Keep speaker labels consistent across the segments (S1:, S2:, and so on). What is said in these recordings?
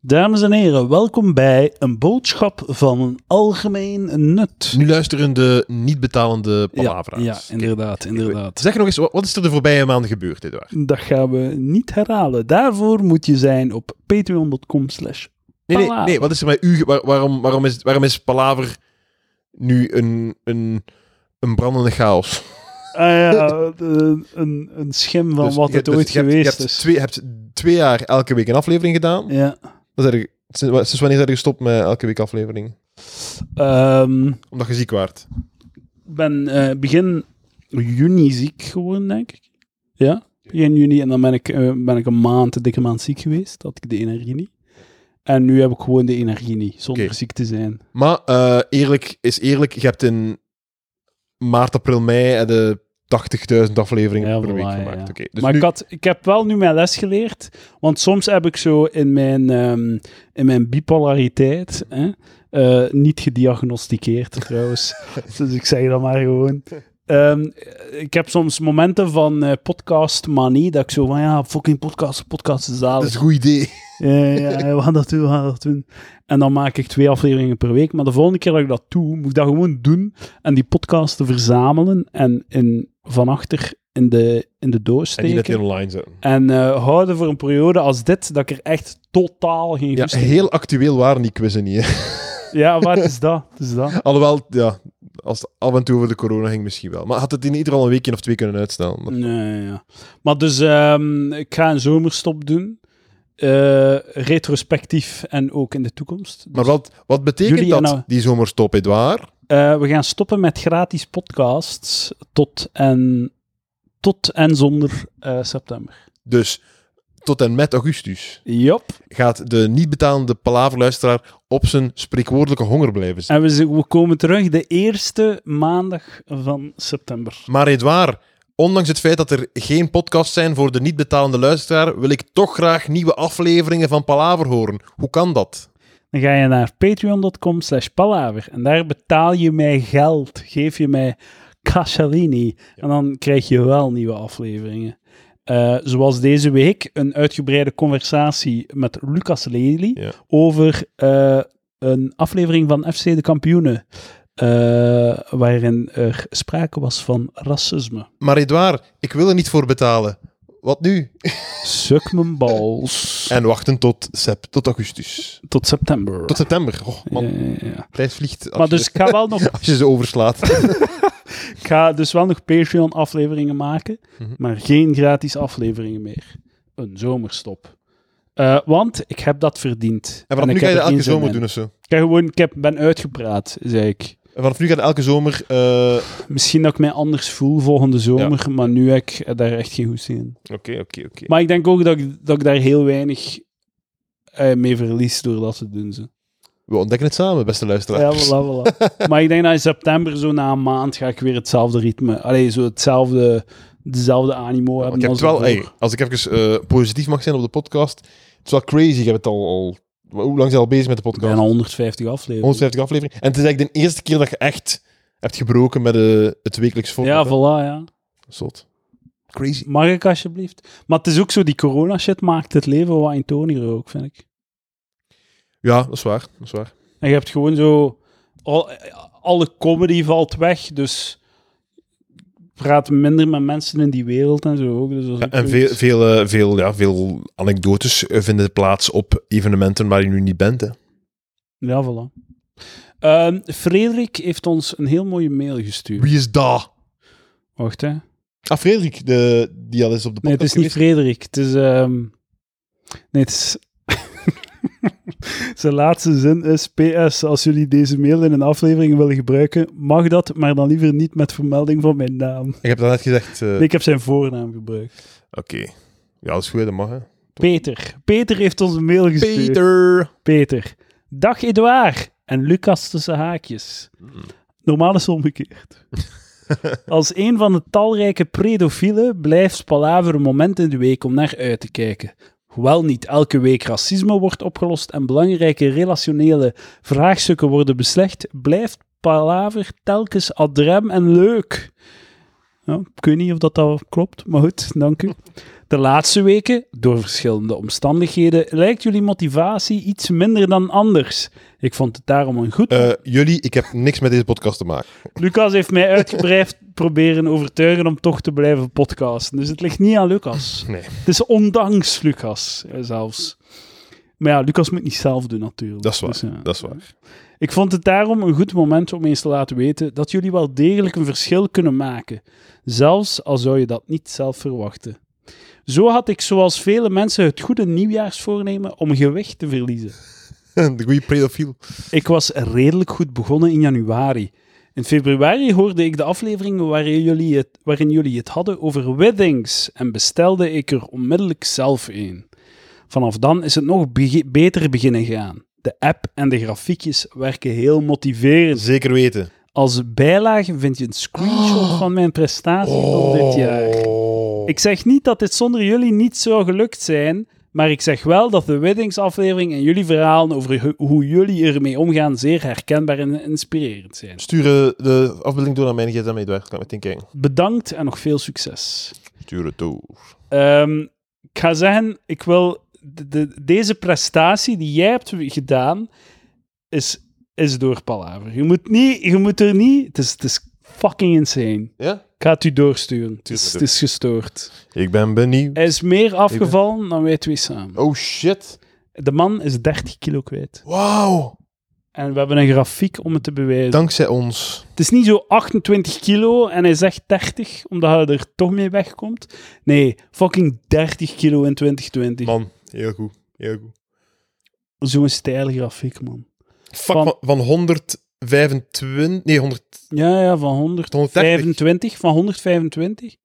S1: Dames en heren, welkom bij een boodschap van algemeen nut.
S2: Nu luisteren de niet betalende
S1: ja,
S2: palavra's.
S1: ja, inderdaad, inderdaad.
S2: Zeg nog eens, wat wat is er de voorbije maanden gebeurd, Edouard?
S1: Dat gaan we niet herhalen. Daarvoor moet je zijn op patreon.com slash
S2: Nee, nee,
S1: Palaver.
S2: nee, wat is er met u? ge- waar- waarom, waarom, is, waarom is palaver nu een, een, een brandende chaos?
S1: Ah ja, de- een, een schim van
S2: Dus
S1: wat
S2: je-
S1: het
S2: dus
S1: ooit
S2: je hebt-
S1: geweest
S2: je hebt,
S1: is.
S2: twee, je hebt twee jaar elke week een aflevering gedaan.
S1: Ja.
S2: Dan zijn er- sinds, wa- sinds wanneer zijn er gestopt met elke week aflevering?
S1: Ehm, Ik
S2: Omdat je ziek waart.
S1: ben eh, begin juni ziek geworden, denk ik. Ja, begin juni. En dan ben ik, eh, ben ik een maand, een dikke maand ziek geweest. Had ik de energie niet. En nu heb ik gewoon de energie niet, zonder
S2: Oké.
S1: ziek te zijn.
S2: Maar eh, eerlijk is eerlijk, je hebt in maart, april, mei eh, de 80.000 afleveringen
S1: Ja,
S2: per week
S1: voilà, ja,
S2: gemaakt.
S1: ja.
S2: Oké, dus
S1: maar
S2: nu-
S1: ik, had, ik heb wel nu mijn les geleerd. Want soms heb ik zo in mijn, ehm, in mijn bipolariteit, hè, eh, niet gediagnosticeerd trouwens, dus ik zeg dat maar gewoon. Ehm, ik heb soms momenten van eh podcast manie, dat ik zo van ja, fucking podcast, podcast is
S2: dat
S1: zalig.
S2: is een goed idee.
S1: Ja, ja, ja, we gaan dat doen, we gaan dat doen. En dan maak ik twee afleveringen per week. Maar de volgende keer dat ik dat doe, moet ik dat gewoon doen en die podcasten verzamelen en in, van achter in de, in de doos
S2: En niet dat die
S1: steken.
S2: online zetten.
S1: En eh, houden voor een periode als dit, dat ik er echt totaal geen
S2: Ja,
S1: goest in
S2: heel actueel waren die quizzen niet. hè.
S1: heb. Ja, waar is dat? Het is dat.
S2: Alhoewel, ja, als het af en toe over de corona ging misschien wel. Maar had het in ieder geval een weekje of twee kunnen uitstellen. Dat-
S1: Nee, ja. Maar dus, ehm, ik ga een zomerstop doen. Eh, retrospectief en ook in de toekomst.
S2: Maar wat, wat betekent
S1: Jullie en
S2: dat,
S1: nou-
S2: die zomerstop, Edouard?
S1: Eh, we gaan stoppen met gratis podcasts tot en, tot en zonder eh, september.
S2: Dus tot en met augustus
S1: Jop.
S2: gaat de niet betalende palaverluisteraar op zijn spreekwoordelijke honger blijven zitten.
S1: En we, z- we komen terug de eerste maandag van september.
S2: Maar Edouard, ondanks het feit dat er geen podcasts zijn voor de niet betalende luisteraar, wil ik toch graag nieuwe afleveringen van Palaver horen. Hoe kan dat?
S1: Dan ga je naar patreon.com slash palaver. En daar betaal je mij geld. Geef je mij Casalini. En dan krijg je wel nieuwe afleveringen. Eh, zoals deze week een uitgebreide conversatie met Lucas Lely
S2: Ja.
S1: over eh, een aflevering van FC de Kampioenen. eh, waarin er sprake was van racisme.
S2: Maar Edouard, ik wil er niet voor betalen. Wat nu?
S1: Suk mijn balls.
S2: En wachten tot, sep, tot augustus.
S1: Tot september.
S2: Tot september. Oh, man,
S1: Ja, ja, ja.
S2: tijd vliegt. Als
S1: Maar
S2: je-
S1: dus ik ga wel nog
S2: Als je ze overslaat.
S1: Ik ga dus wel nog Patreon-afleveringen maken,
S2: Mhm.
S1: maar geen gratis afleveringen meer. Een zomerstop. Eh, want ik heb dat verdiend.
S2: En
S1: ik
S2: vanaf nu ga
S1: heb er
S2: je dat elke
S1: geen zin
S2: zomer
S1: in.
S2: doen of zo.
S1: Ik, heb gewoon, ik heb, ben uitgepraat, zei ik.
S2: En vanaf nu ga je elke zomer... eh,
S1: Misschien dat ik mij anders voel volgende zomer, maar nu heb ik daar echt geen goed zin in.
S2: Oké, oké, oké.
S1: Maar ik denk ook dat ik, dat ik daar heel weinig eh, mee verlies door dat te doen. Zo.
S2: We ontdekken het samen, beste
S1: Ja,
S2: luisteraars.
S1: voilà, voilà. maar ik denk dat in september, zo na een maand, ga ik weer hetzelfde ritme. Allee, zo hetzelfde, dezelfde animo
S2: Want
S1: hebben.
S2: ik heb
S1: als
S2: het wel,
S1: ervoor.
S2: ey, als ik even eh, positief mag zijn op de podcast, het is wel crazy. Ik heb het al, al hoe lang zijn we al bezig met de podcast?
S1: Bijna 150 afleveringen.
S2: 150 afleveringen. En het is eigenlijk de eerste keer dat je echt hebt gebroken met eh, het wekelijks
S1: Ja,
S2: format. hè.
S1: voilà, ja.
S2: Zot. Crazy.
S1: Mag ik alsjeblieft? Maar het is ook zo, die corona-shit maakt het leven wat intoniger ook, vind ik.
S2: Ja, dat is waar. Dat is waar.
S1: En je hebt gewoon zo... Al, alle comedy valt weg, dus... Praat minder met mensen in die wereld en zo ook. Dus dat is ook
S2: en veel,
S1: zoiets.
S2: veel, eh, veel, ja, veel anekdotes eh, vinden plaats op evenementen waar je nu niet bent. Hè.
S1: Ja, voilà. Ehm, Frederik heeft ons een heel mooie mail gestuurd.
S2: Wie is daar?
S1: Wacht, hè.
S2: Ah, Frederik, de, die al is op de podcast
S1: Nee, het is niet
S2: geweest.
S1: Frederik. Het is... ehm, Nee, het is... Zijn laatste zin is... PS, als jullie deze mail in een aflevering willen gebruiken, mag dat, maar dan liever niet met vermelding van mijn naam.
S2: Ik heb dat net gezegd. eh,
S1: Nee, ik heb zijn voornaam gebruikt.
S2: Oké. Ja, dat is goed, dat mag. Hè.
S1: Peter. Peter heeft ons een mail gestuurd.
S2: Peter.
S1: Peter. Dag Edouard en Lucas tussen haakjes. Normaal is het omgekeerd. Als een van de talrijke predofielen blijft Palaver een moment in de week om naar uit te kijken. Hoewel niet elke week racisme wordt opgelost en belangrijke relationele vraagstukken worden beslecht, blijft Palaver telkens adrem en leuk. Ja, ik weet niet of dat, dat klopt, maar goed, dank u. De laatste weken, door verschillende omstandigheden, lijkt jullie motivatie iets minder dan anders. Ik vond het daarom een goed.
S2: Eh, jullie, ik heb niks met deze podcast te maken.
S1: Lucas heeft mij uitgebreid proberen overtuigen om toch te blijven podcasten. Dus het ligt niet aan Lucas.
S2: Nee.
S1: Het is ondanks Lucas eh, zelfs. Maar ja, Lucas moet niet zelf doen natuurlijk.
S2: Dat is waar,
S1: ja.
S2: dat is waar.
S1: Ik vond het daarom een goed moment om eens te laten weten dat jullie wel degelijk een verschil kunnen maken. Zelfs al zou je dat niet zelf verwachten. Zo had ik zoals vele mensen het goede nieuwjaarsvoornemen om gewicht te verliezen.
S2: De goede pedofiel.
S1: Ik was redelijk goed begonnen in januari. In februari hoorde ik de aflevering waarin jullie het, waarin jullie het hadden over weddings en bestelde ik er onmiddellijk zelf een. Vanaf dan is het nog bege- beter beginnen gaan. De app en de grafiekjes werken heel motiverend.
S2: Zeker weten.
S1: Als bijlage vind je een screenshot van mijn prestatie van dit
S2: Oh.
S1: jaar. Ik zeg niet dat dit zonder jullie niet zou gelukt zijn, maar ik zeg wel dat de weddingsaflevering en jullie verhalen over hu- hoe jullie ermee omgaan zeer herkenbaar en inspirerend zijn.
S2: Stuur eh, de afbeelding door naar mijn gsm, Eduard. Kan meteen kijken.
S1: Bedankt en nog veel succes.
S2: Stuur het door.
S1: Ehm, ik ga zeggen, ik wil de, de- deze prestatie die jij hebt gedaan, is, is door Palaver. Je moet, niet, je moet er niet... Het is, het is fucking insane.
S2: Ja?
S1: Ik ga het u doorsturen. Het is,
S2: Tuurlijk.
S1: het is gestoord.
S2: Ik ben benieuwd.
S1: Hij is meer afgevallen dan wij twee samen.
S2: Oh shit.
S1: De man is 30 kilo kwijt.
S2: Wauw.
S1: En we hebben een grafiek om het te bewijzen.
S2: Dankzij ons.
S1: Het is niet zo 28 kilo en hij zegt 30, omdat hij er toch mee wegkomt. Nee, fucking 30 kilo in 2020.
S2: Man, heel goed. Heel goed.
S1: Zo'n stijl grafiek, man.
S2: Fuck,
S1: Van-
S2: van, van 125... Nee, 100,
S1: Ja, ja, van
S2: 130.
S1: 125, van 125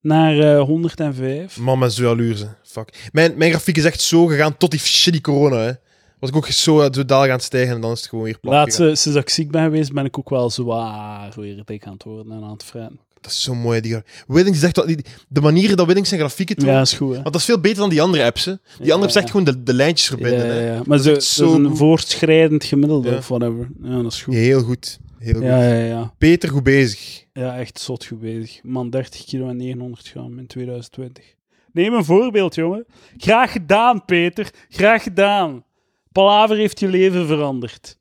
S1: naar eh, 105.
S2: Man, mijn jaloerse. Fuck. Mijn, mijn grafiek is echt zo gegaan tot die shitty corona, hè. Was ik ook zo eh, zodanig aan het stijgen en dan is het gewoon weer plat
S1: Laatste,
S2: gegaan.
S1: sinds dat ik ziek ben geweest, ben ik ook wel zwaar weer dik aan het worden en aan het fretten.
S2: Dat is zo mooi, die gra- Willings zegt dat... die- De manieren dat Willings zijn grafieken doen...
S1: Ja, is goed, hè.
S2: Want dat is veel beter dan die andere apps, hè. Die
S1: Ja,
S2: andere apps
S1: ja.
S2: echt gewoon de, de lijntjes
S1: Ja,
S2: verbinden,
S1: ja,
S2: hè.
S1: ja. Maar zo,
S2: echt
S1: dat is
S2: zo
S1: een
S2: goed.
S1: voortschrijdend gemiddelde
S2: Ja.
S1: of whatever. Ja, dat is goed.
S2: Heel goed. Heel goed.
S1: Ja, ja, ja.
S2: Peter, goed bezig.
S1: Ja, echt zot goed bezig. Man, 30 kilo en 900 gram in 2020. Neem een voorbeeld, jongen. Graag gedaan, Peter. Graag gedaan. Palaver heeft je leven veranderd.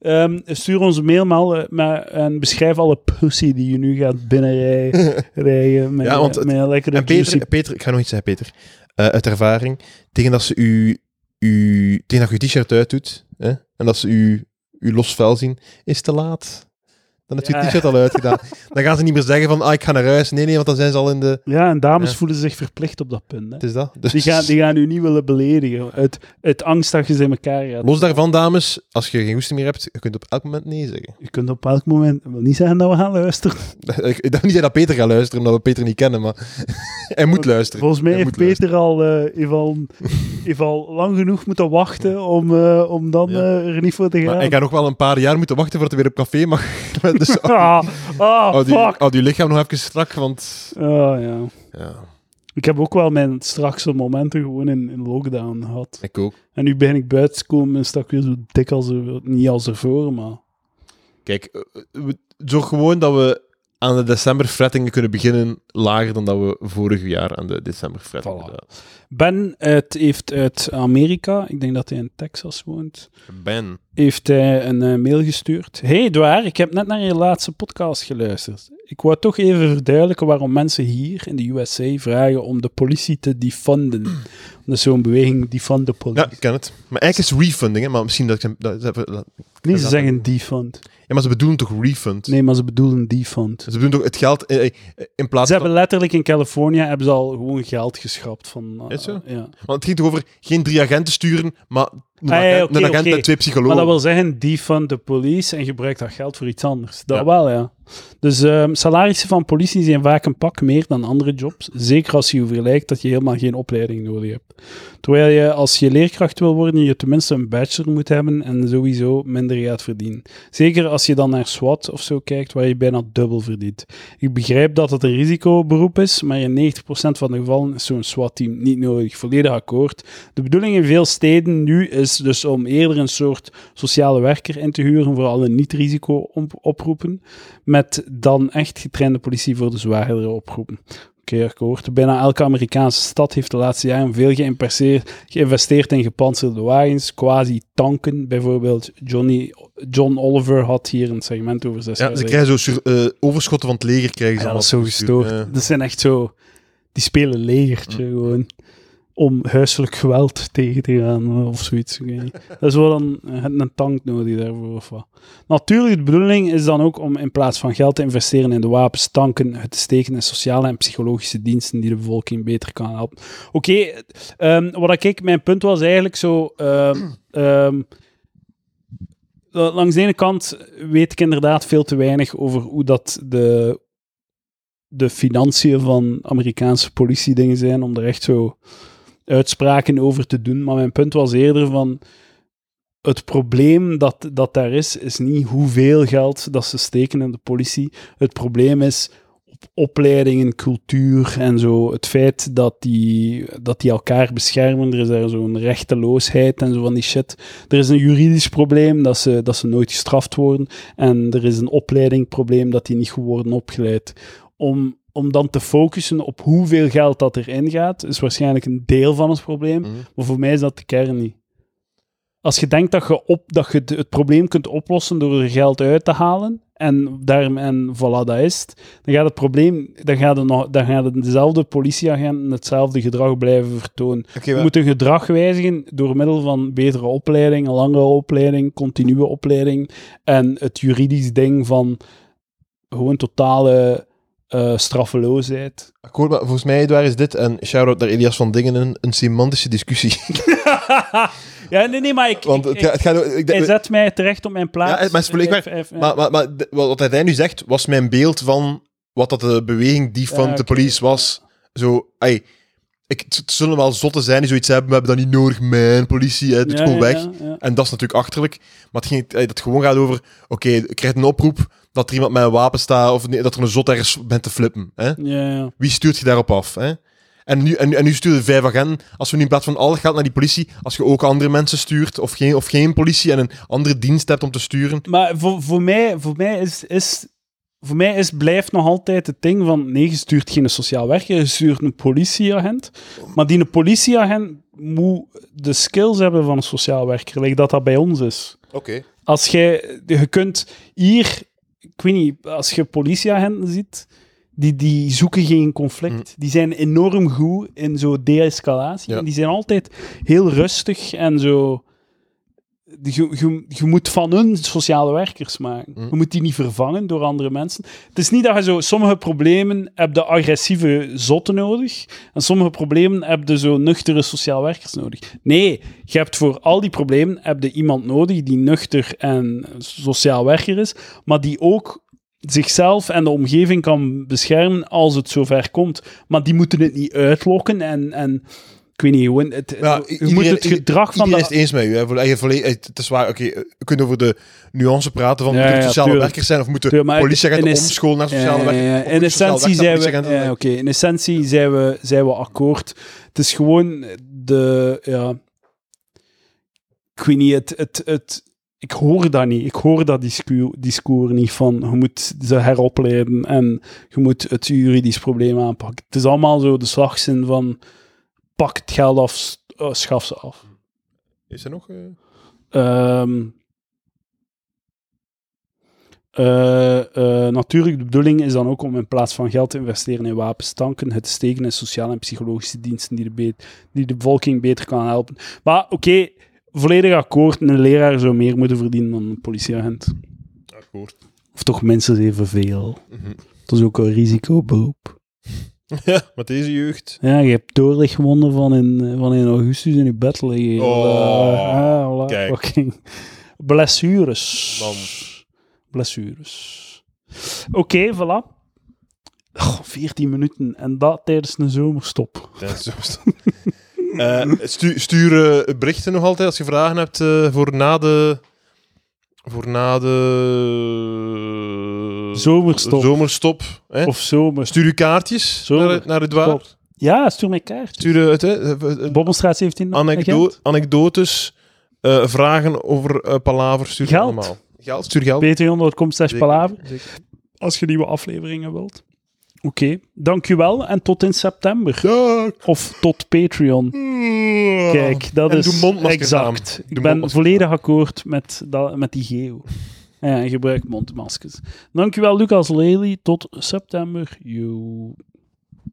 S1: Ehm, stuur ons een mail maar, eh, maar- en beschrijf alle pussy die je nu gaat binnenrijden. rijden met,
S2: Ja, want het-
S1: met een lekkere
S2: En
S1: juicy-
S2: Peter, Peter, ik ga nog iets zeggen, Peter. Eh, uit ervaring, tegen dat ze u, u, tegen dat je t-shirt uitdoet hè, en dat ze u, u los vuil zien, is het te laat. Dan heb je
S1: Ja.
S2: het t-shirt al uitgedaan. Dan gaan ze niet meer zeggen van, ah, ik ga naar huis. Nee, nee, want dan zijn ze al in de...
S1: Ja, en dames
S2: Ja.
S1: voelen zich verplicht op dat punt. Hè.
S2: Het is dat. Dus,
S1: Die, gaan, die gaan u niet willen beledigen. Uit, uit angst dat je ze in elkaar gaat.
S2: Los daarvan, dames, als je geen goesting meer hebt, je kunt op elk moment nee zeggen.
S1: Je kunt op elk moment... Ik wil niet zeggen dat we gaan luisteren.
S2: Ik ik dacht niet dat Peter gaat luisteren, omdat we Peter niet kennen, maar hij moet luisteren.
S1: Volgens mij
S2: Hij
S1: heeft
S2: moet
S1: Peter al, eh, heeft al, heeft al lang genoeg moeten wachten om, eh, om dan
S2: Ja.
S1: eh, er niet voor te
S2: Maar
S1: gaan.
S2: hij gaat nog wel een paar jaar moeten wachten voordat hij weer op café mag. dus
S1: Ah, ah,
S2: houd je-
S1: fuck.
S2: houd je lichaam nog even strak, want...
S1: Ah, ja.
S2: Ja,
S1: Ik heb ook wel mijn strakste momenten gewoon in, in lockdown gehad.
S2: ik ook.
S1: En nu ben ik buiten te komen en sta ik weer zo dik als er, niet als ervoor, maar...
S2: Kijk, eh, we- zorg gewoon dat we aan de decemberfrettingen kunnen beginnen lager dan dat we vorig jaar aan de decemberfrettingen
S1: Voilà.
S2: zaten.
S1: Ben uit, heeft uit Amerika, ik denk dat hij in Texas woont,
S2: Ben.
S1: heeft hij een eh, mail gestuurd. Hey Edouard, ik heb net naar je laatste podcast geluisterd. Ik wou toch even verduidelijken waarom mensen hier in de USA vragen om de politie te defunden. Dat is zo'n beweging, defund de police.
S2: Ja, ik ken het. Maar eigenlijk is refunding, hè, maar misschien dat ik... hem- Dat, dat, dat-
S1: nee, ze
S2: dat-
S1: zeggen defund.
S2: ja, maar ze bedoelen toch refund?
S1: Nee, maar ze bedoelen defund.
S2: Ze bedoelen toch het geld eh, eh, in plaats
S1: Ze hebben
S2: van...
S1: letterlijk in Californië hebben ze al gewoon geld geschrapt van... eh,
S2: Is zo?
S1: Ja.
S2: Want het ging toch over geen drie agenten sturen, maar een
S1: Ah, ja,
S2: agent,
S1: oké,
S2: een agent
S1: oké.
S2: en twee
S1: Maar
S2: psychologen.
S1: dat wil zeggen, defund de police en gebruik dat geld voor iets anders. Dat
S2: Ja.
S1: wel, ja. Dus ehm, salarissen van politie zijn vaak een pak meer dan andere jobs. Zeker als je vergelijkt dat je helemaal geen opleiding nodig hebt. Terwijl je als je leerkracht wil worden, je tenminste een bachelor moet hebben en sowieso minder gaat verdienen. Zeker als je dan naar SWAT of zo kijkt, waar je bijna dubbel verdient. Ik begrijp dat het een risicoberoep is, maar in 90% van de gevallen is zo'n SWAT-team niet nodig. Volledig akkoord. De bedoeling in veel steden nu is dus om eerder een soort sociale werker in te huren voor alle niet-risico-oproepen, met dan echt getrainde politie voor de zwaardere oproepen. keer gehoord. Bijna elke Amerikaanse stad heeft de laatste jaren veel geïmperseer- geïnvesteerd in gepantserde wagens, quasi-tanken. Bijvoorbeeld Johnny, John Oliver had hier een segment over zes
S2: Ja,
S1: jaar
S2: ze
S1: geleden.
S2: krijgen zo sur- eh, overschotten van het leger. Krijgen ze
S1: Ja, Ah, dat is zo
S2: allemaal toegestuurd.
S1: gestoord. Dat zijn echt zo... Die spelen legertje
S2: Mm.
S1: gewoon. Om huiselijk geweld tegen te gaan eh, of zoiets. ik weet niet. Dat is wel een, een tank nodig daarvoor of wat. Natuurlijk, de bedoeling is dan ook om in plaats van geld te investeren in de wapens, tanken, het te steken in sociale en psychologische diensten die de bevolking beter kan helpen. Oké, ehm, wat ik, mijn punt was eigenlijk zo. ehm, ehm, eh, langs de ene kant weet ik inderdaad veel te weinig over hoe dat de, de financiën van Amerikaanse politiedingen zijn, om er echt zo uitspraken over te doen. Maar mijn punt was eerder van. Het probleem dat, dat daar is, is niet hoeveel geld dat ze steken in de politie. Het probleem is op opleidingen, cultuur en zo. Het feit dat die, dat die elkaar beschermen. Er is daar zo'n rechteloosheid en zo van die shit. Er is een juridisch probleem dat ze, dat ze nooit gestraft worden. En er is een opleidingprobleem dat die niet goed worden opgeleid. Om, om dan te focussen op hoeveel geld dat erin gaat, is waarschijnlijk een deel van het probleem.
S2: Mhm.
S1: Maar voor mij is dat de kern niet. Als je denkt dat je, op, dat je het, het probleem kunt oplossen door er geld uit te halen, en, daar, en voilà, dat is het, dan gaat het probleem, dan gaat, het nog, dan gaat het dezelfde politieagenten hetzelfde gedrag blijven vertonen.
S2: Oké,
S1: Je
S2: maar-
S1: moet hun gedrag wijzigen door middel van betere opleiding, een langere opleiding, continue opleiding en het juridisch ding van gewoon totale eh, straffeloosheid.
S2: Akkoord, maar volgens mij, Edouard, is dit, en shout-out naar Elias van Dingen, een, een semantische discussie.
S1: ja, nee, nee, maar ik,
S2: Want
S1: ik-
S2: het, gaat- het gaat... Ik, denk-
S1: Hij zet mij terecht op mijn plaats.
S2: Ja, maar het is blijkbaar-
S1: Hij heeft- hij heeft-
S2: maar maar, maar de- wat hij nu zegt, was mijn beeld van wat dat de beweging die van
S1: Ja,
S2: de
S1: oké.
S2: police was. Zo, ai, ik, het, het zullen wel zotten zijn die zoiets hebben, we hebben dat niet nodig, man, politie, hè, doet
S1: Ja,
S2: gewoon
S1: ja,
S2: weg.
S1: ja, ja.
S2: En dat is natuurlijk achterlijk. Maar het ging, eh, dat gewoon gaat over, oké, ik krijg een oproep dat er iemand met een wapen staat, of nee, dat er een zot ergens bent te flippen. Hè?
S1: Ja, ja.
S2: Wie stuurt je daarop af? Hè? En nu, en, nu- en nu sturen vijf agenten. Als we nu in plaats van alles gaat naar die politie, als je ook andere mensen stuurt, of geen, of geen politie en een andere dienst hebt om te sturen.
S1: Maar voor, voor mij, voor mij is... is voor mij is, blijft nog altijd het ding van... Nee, je stuurt geen sociaal werker, je stuurt een politieagent. Maar die politieagent moet de skills hebben van een sociaal werker. Like dat dat bij ons is.
S2: Oké.
S1: Als jij, je kunt hier, ik weet niet, als je politieagenten ziet, die, die zoeken geen conflict. Die zijn enorm goed in zo de-escalatie.
S2: Ja.
S1: En die zijn altijd heel rustig en zo. die- Je, je, je moet van hun sociale werkers maken.
S2: Mm.
S1: Je moet die niet vervangen door andere mensen. Het is niet dat je zo... Sommige problemen heb je agressieve zotten nodig. En sommige problemen heb je zo nuchtere sociaal werkers nodig. Nee, je hebt voor al die problemen heb je iemand nodig die nuchter en sociaal werker is, maar die ook zichzelf en de omgeving kan beschermen als het zover komt. Maar die moeten het niet uitlokken en... en ik weet niet, gewoon... Het,
S2: Ja,
S1: je
S2: iedereen-
S1: moet het
S2: ieder-
S1: gedrag van...
S2: Iedereen
S1: de-
S2: is het eens met u. Hè? Volle- je volle- eh, Het is waar, oké, we kunnen over de nuance praten van
S1: Ja,
S2: moeten het
S1: ja,
S2: sociale
S1: tuurlijk.
S2: werkers zijn of moeten
S1: Tuurlijk, maar
S2: politieagenten
S1: in es-
S2: omscholen naar sociale
S1: Ja, ja, ja.
S2: werkers. of
S1: Eh, In
S2: moeten sociale
S1: essentie zijn
S2: werkers
S1: we,
S2: naar politieagenten?
S1: ja, oké, in essentie zijn we, zijn we akkoord. Het is gewoon de, ja, ik weet niet, het, het, het, ik hoor dat niet. Ik hoor dat discours, discours niet van je moet ze heropleiden en je moet het juridisch probleem aanpakken. Het is allemaal zo de slagzin van pak het geld af, s- eh, schaf ze af.
S2: Is er nog... eh,
S1: Ehm, eh, eh, natuurlijk, de bedoeling is dan ook om in plaats van geld te investeren in wapens, tanken, het te steken in sociale en psychologische diensten die de, be- die de bevolking beter kan helpen. Maar oké, volledig akkoord. Een leraar zou meer moeten verdienen dan een politieagent.
S2: akkoord.
S1: Of toch minstens evenveel.
S2: Mhm.
S1: Dat is ook een risicoberoep.
S2: Ja, maar deze jeugd...
S1: Ja, je hebt doorlicht gewonnen van in, van in augustus in je bed liggen.
S2: Oh,
S1: Ah, voilà,
S2: kijk.
S1: fucking. Blessures.
S2: Man.
S1: Blessures. Oké, voilà. Goh, 14 minuten. En dat tijdens een zomerstop.
S2: Ja, zo is dat. Eh, stu- stuur eh, berichten nog altijd als je vragen hebt eh, voor na de... Voor na de...
S1: Zomerstop.
S2: Zomerstop. Hè?
S1: Of zomer.
S2: Stuur uw kaartjes
S1: Zomer.
S2: naar, naar Edouard.
S1: Klopt. Ja, stuur mij kaart.
S2: Stuur eh, het, hè, eh, eh,
S1: Bobbelstraat 17.
S2: anekdo-
S1: agent.
S2: anekdotes, eh, vragen over eh palaver, stuur
S1: Geld.
S2: allemaal. Geld, stuur geld.
S1: Patreon.com slash
S2: Zeker,
S1: palaver.
S2: zeker.
S1: Als je nieuwe afleveringen wilt. Of dankjewel en tot in september.
S2: Dag.
S1: Of tot Patreon. Kijk, dat
S2: Oh, En
S1: is
S2: doe mondmaskers aan.
S1: exact.
S2: Doe
S1: Ik ben
S2: mondmaskers
S1: volledig akkoord met, dat, met die geo. Ja, en gebruik mondmaskers. Dankjewel, Lucas Lely. Tot september. Yo.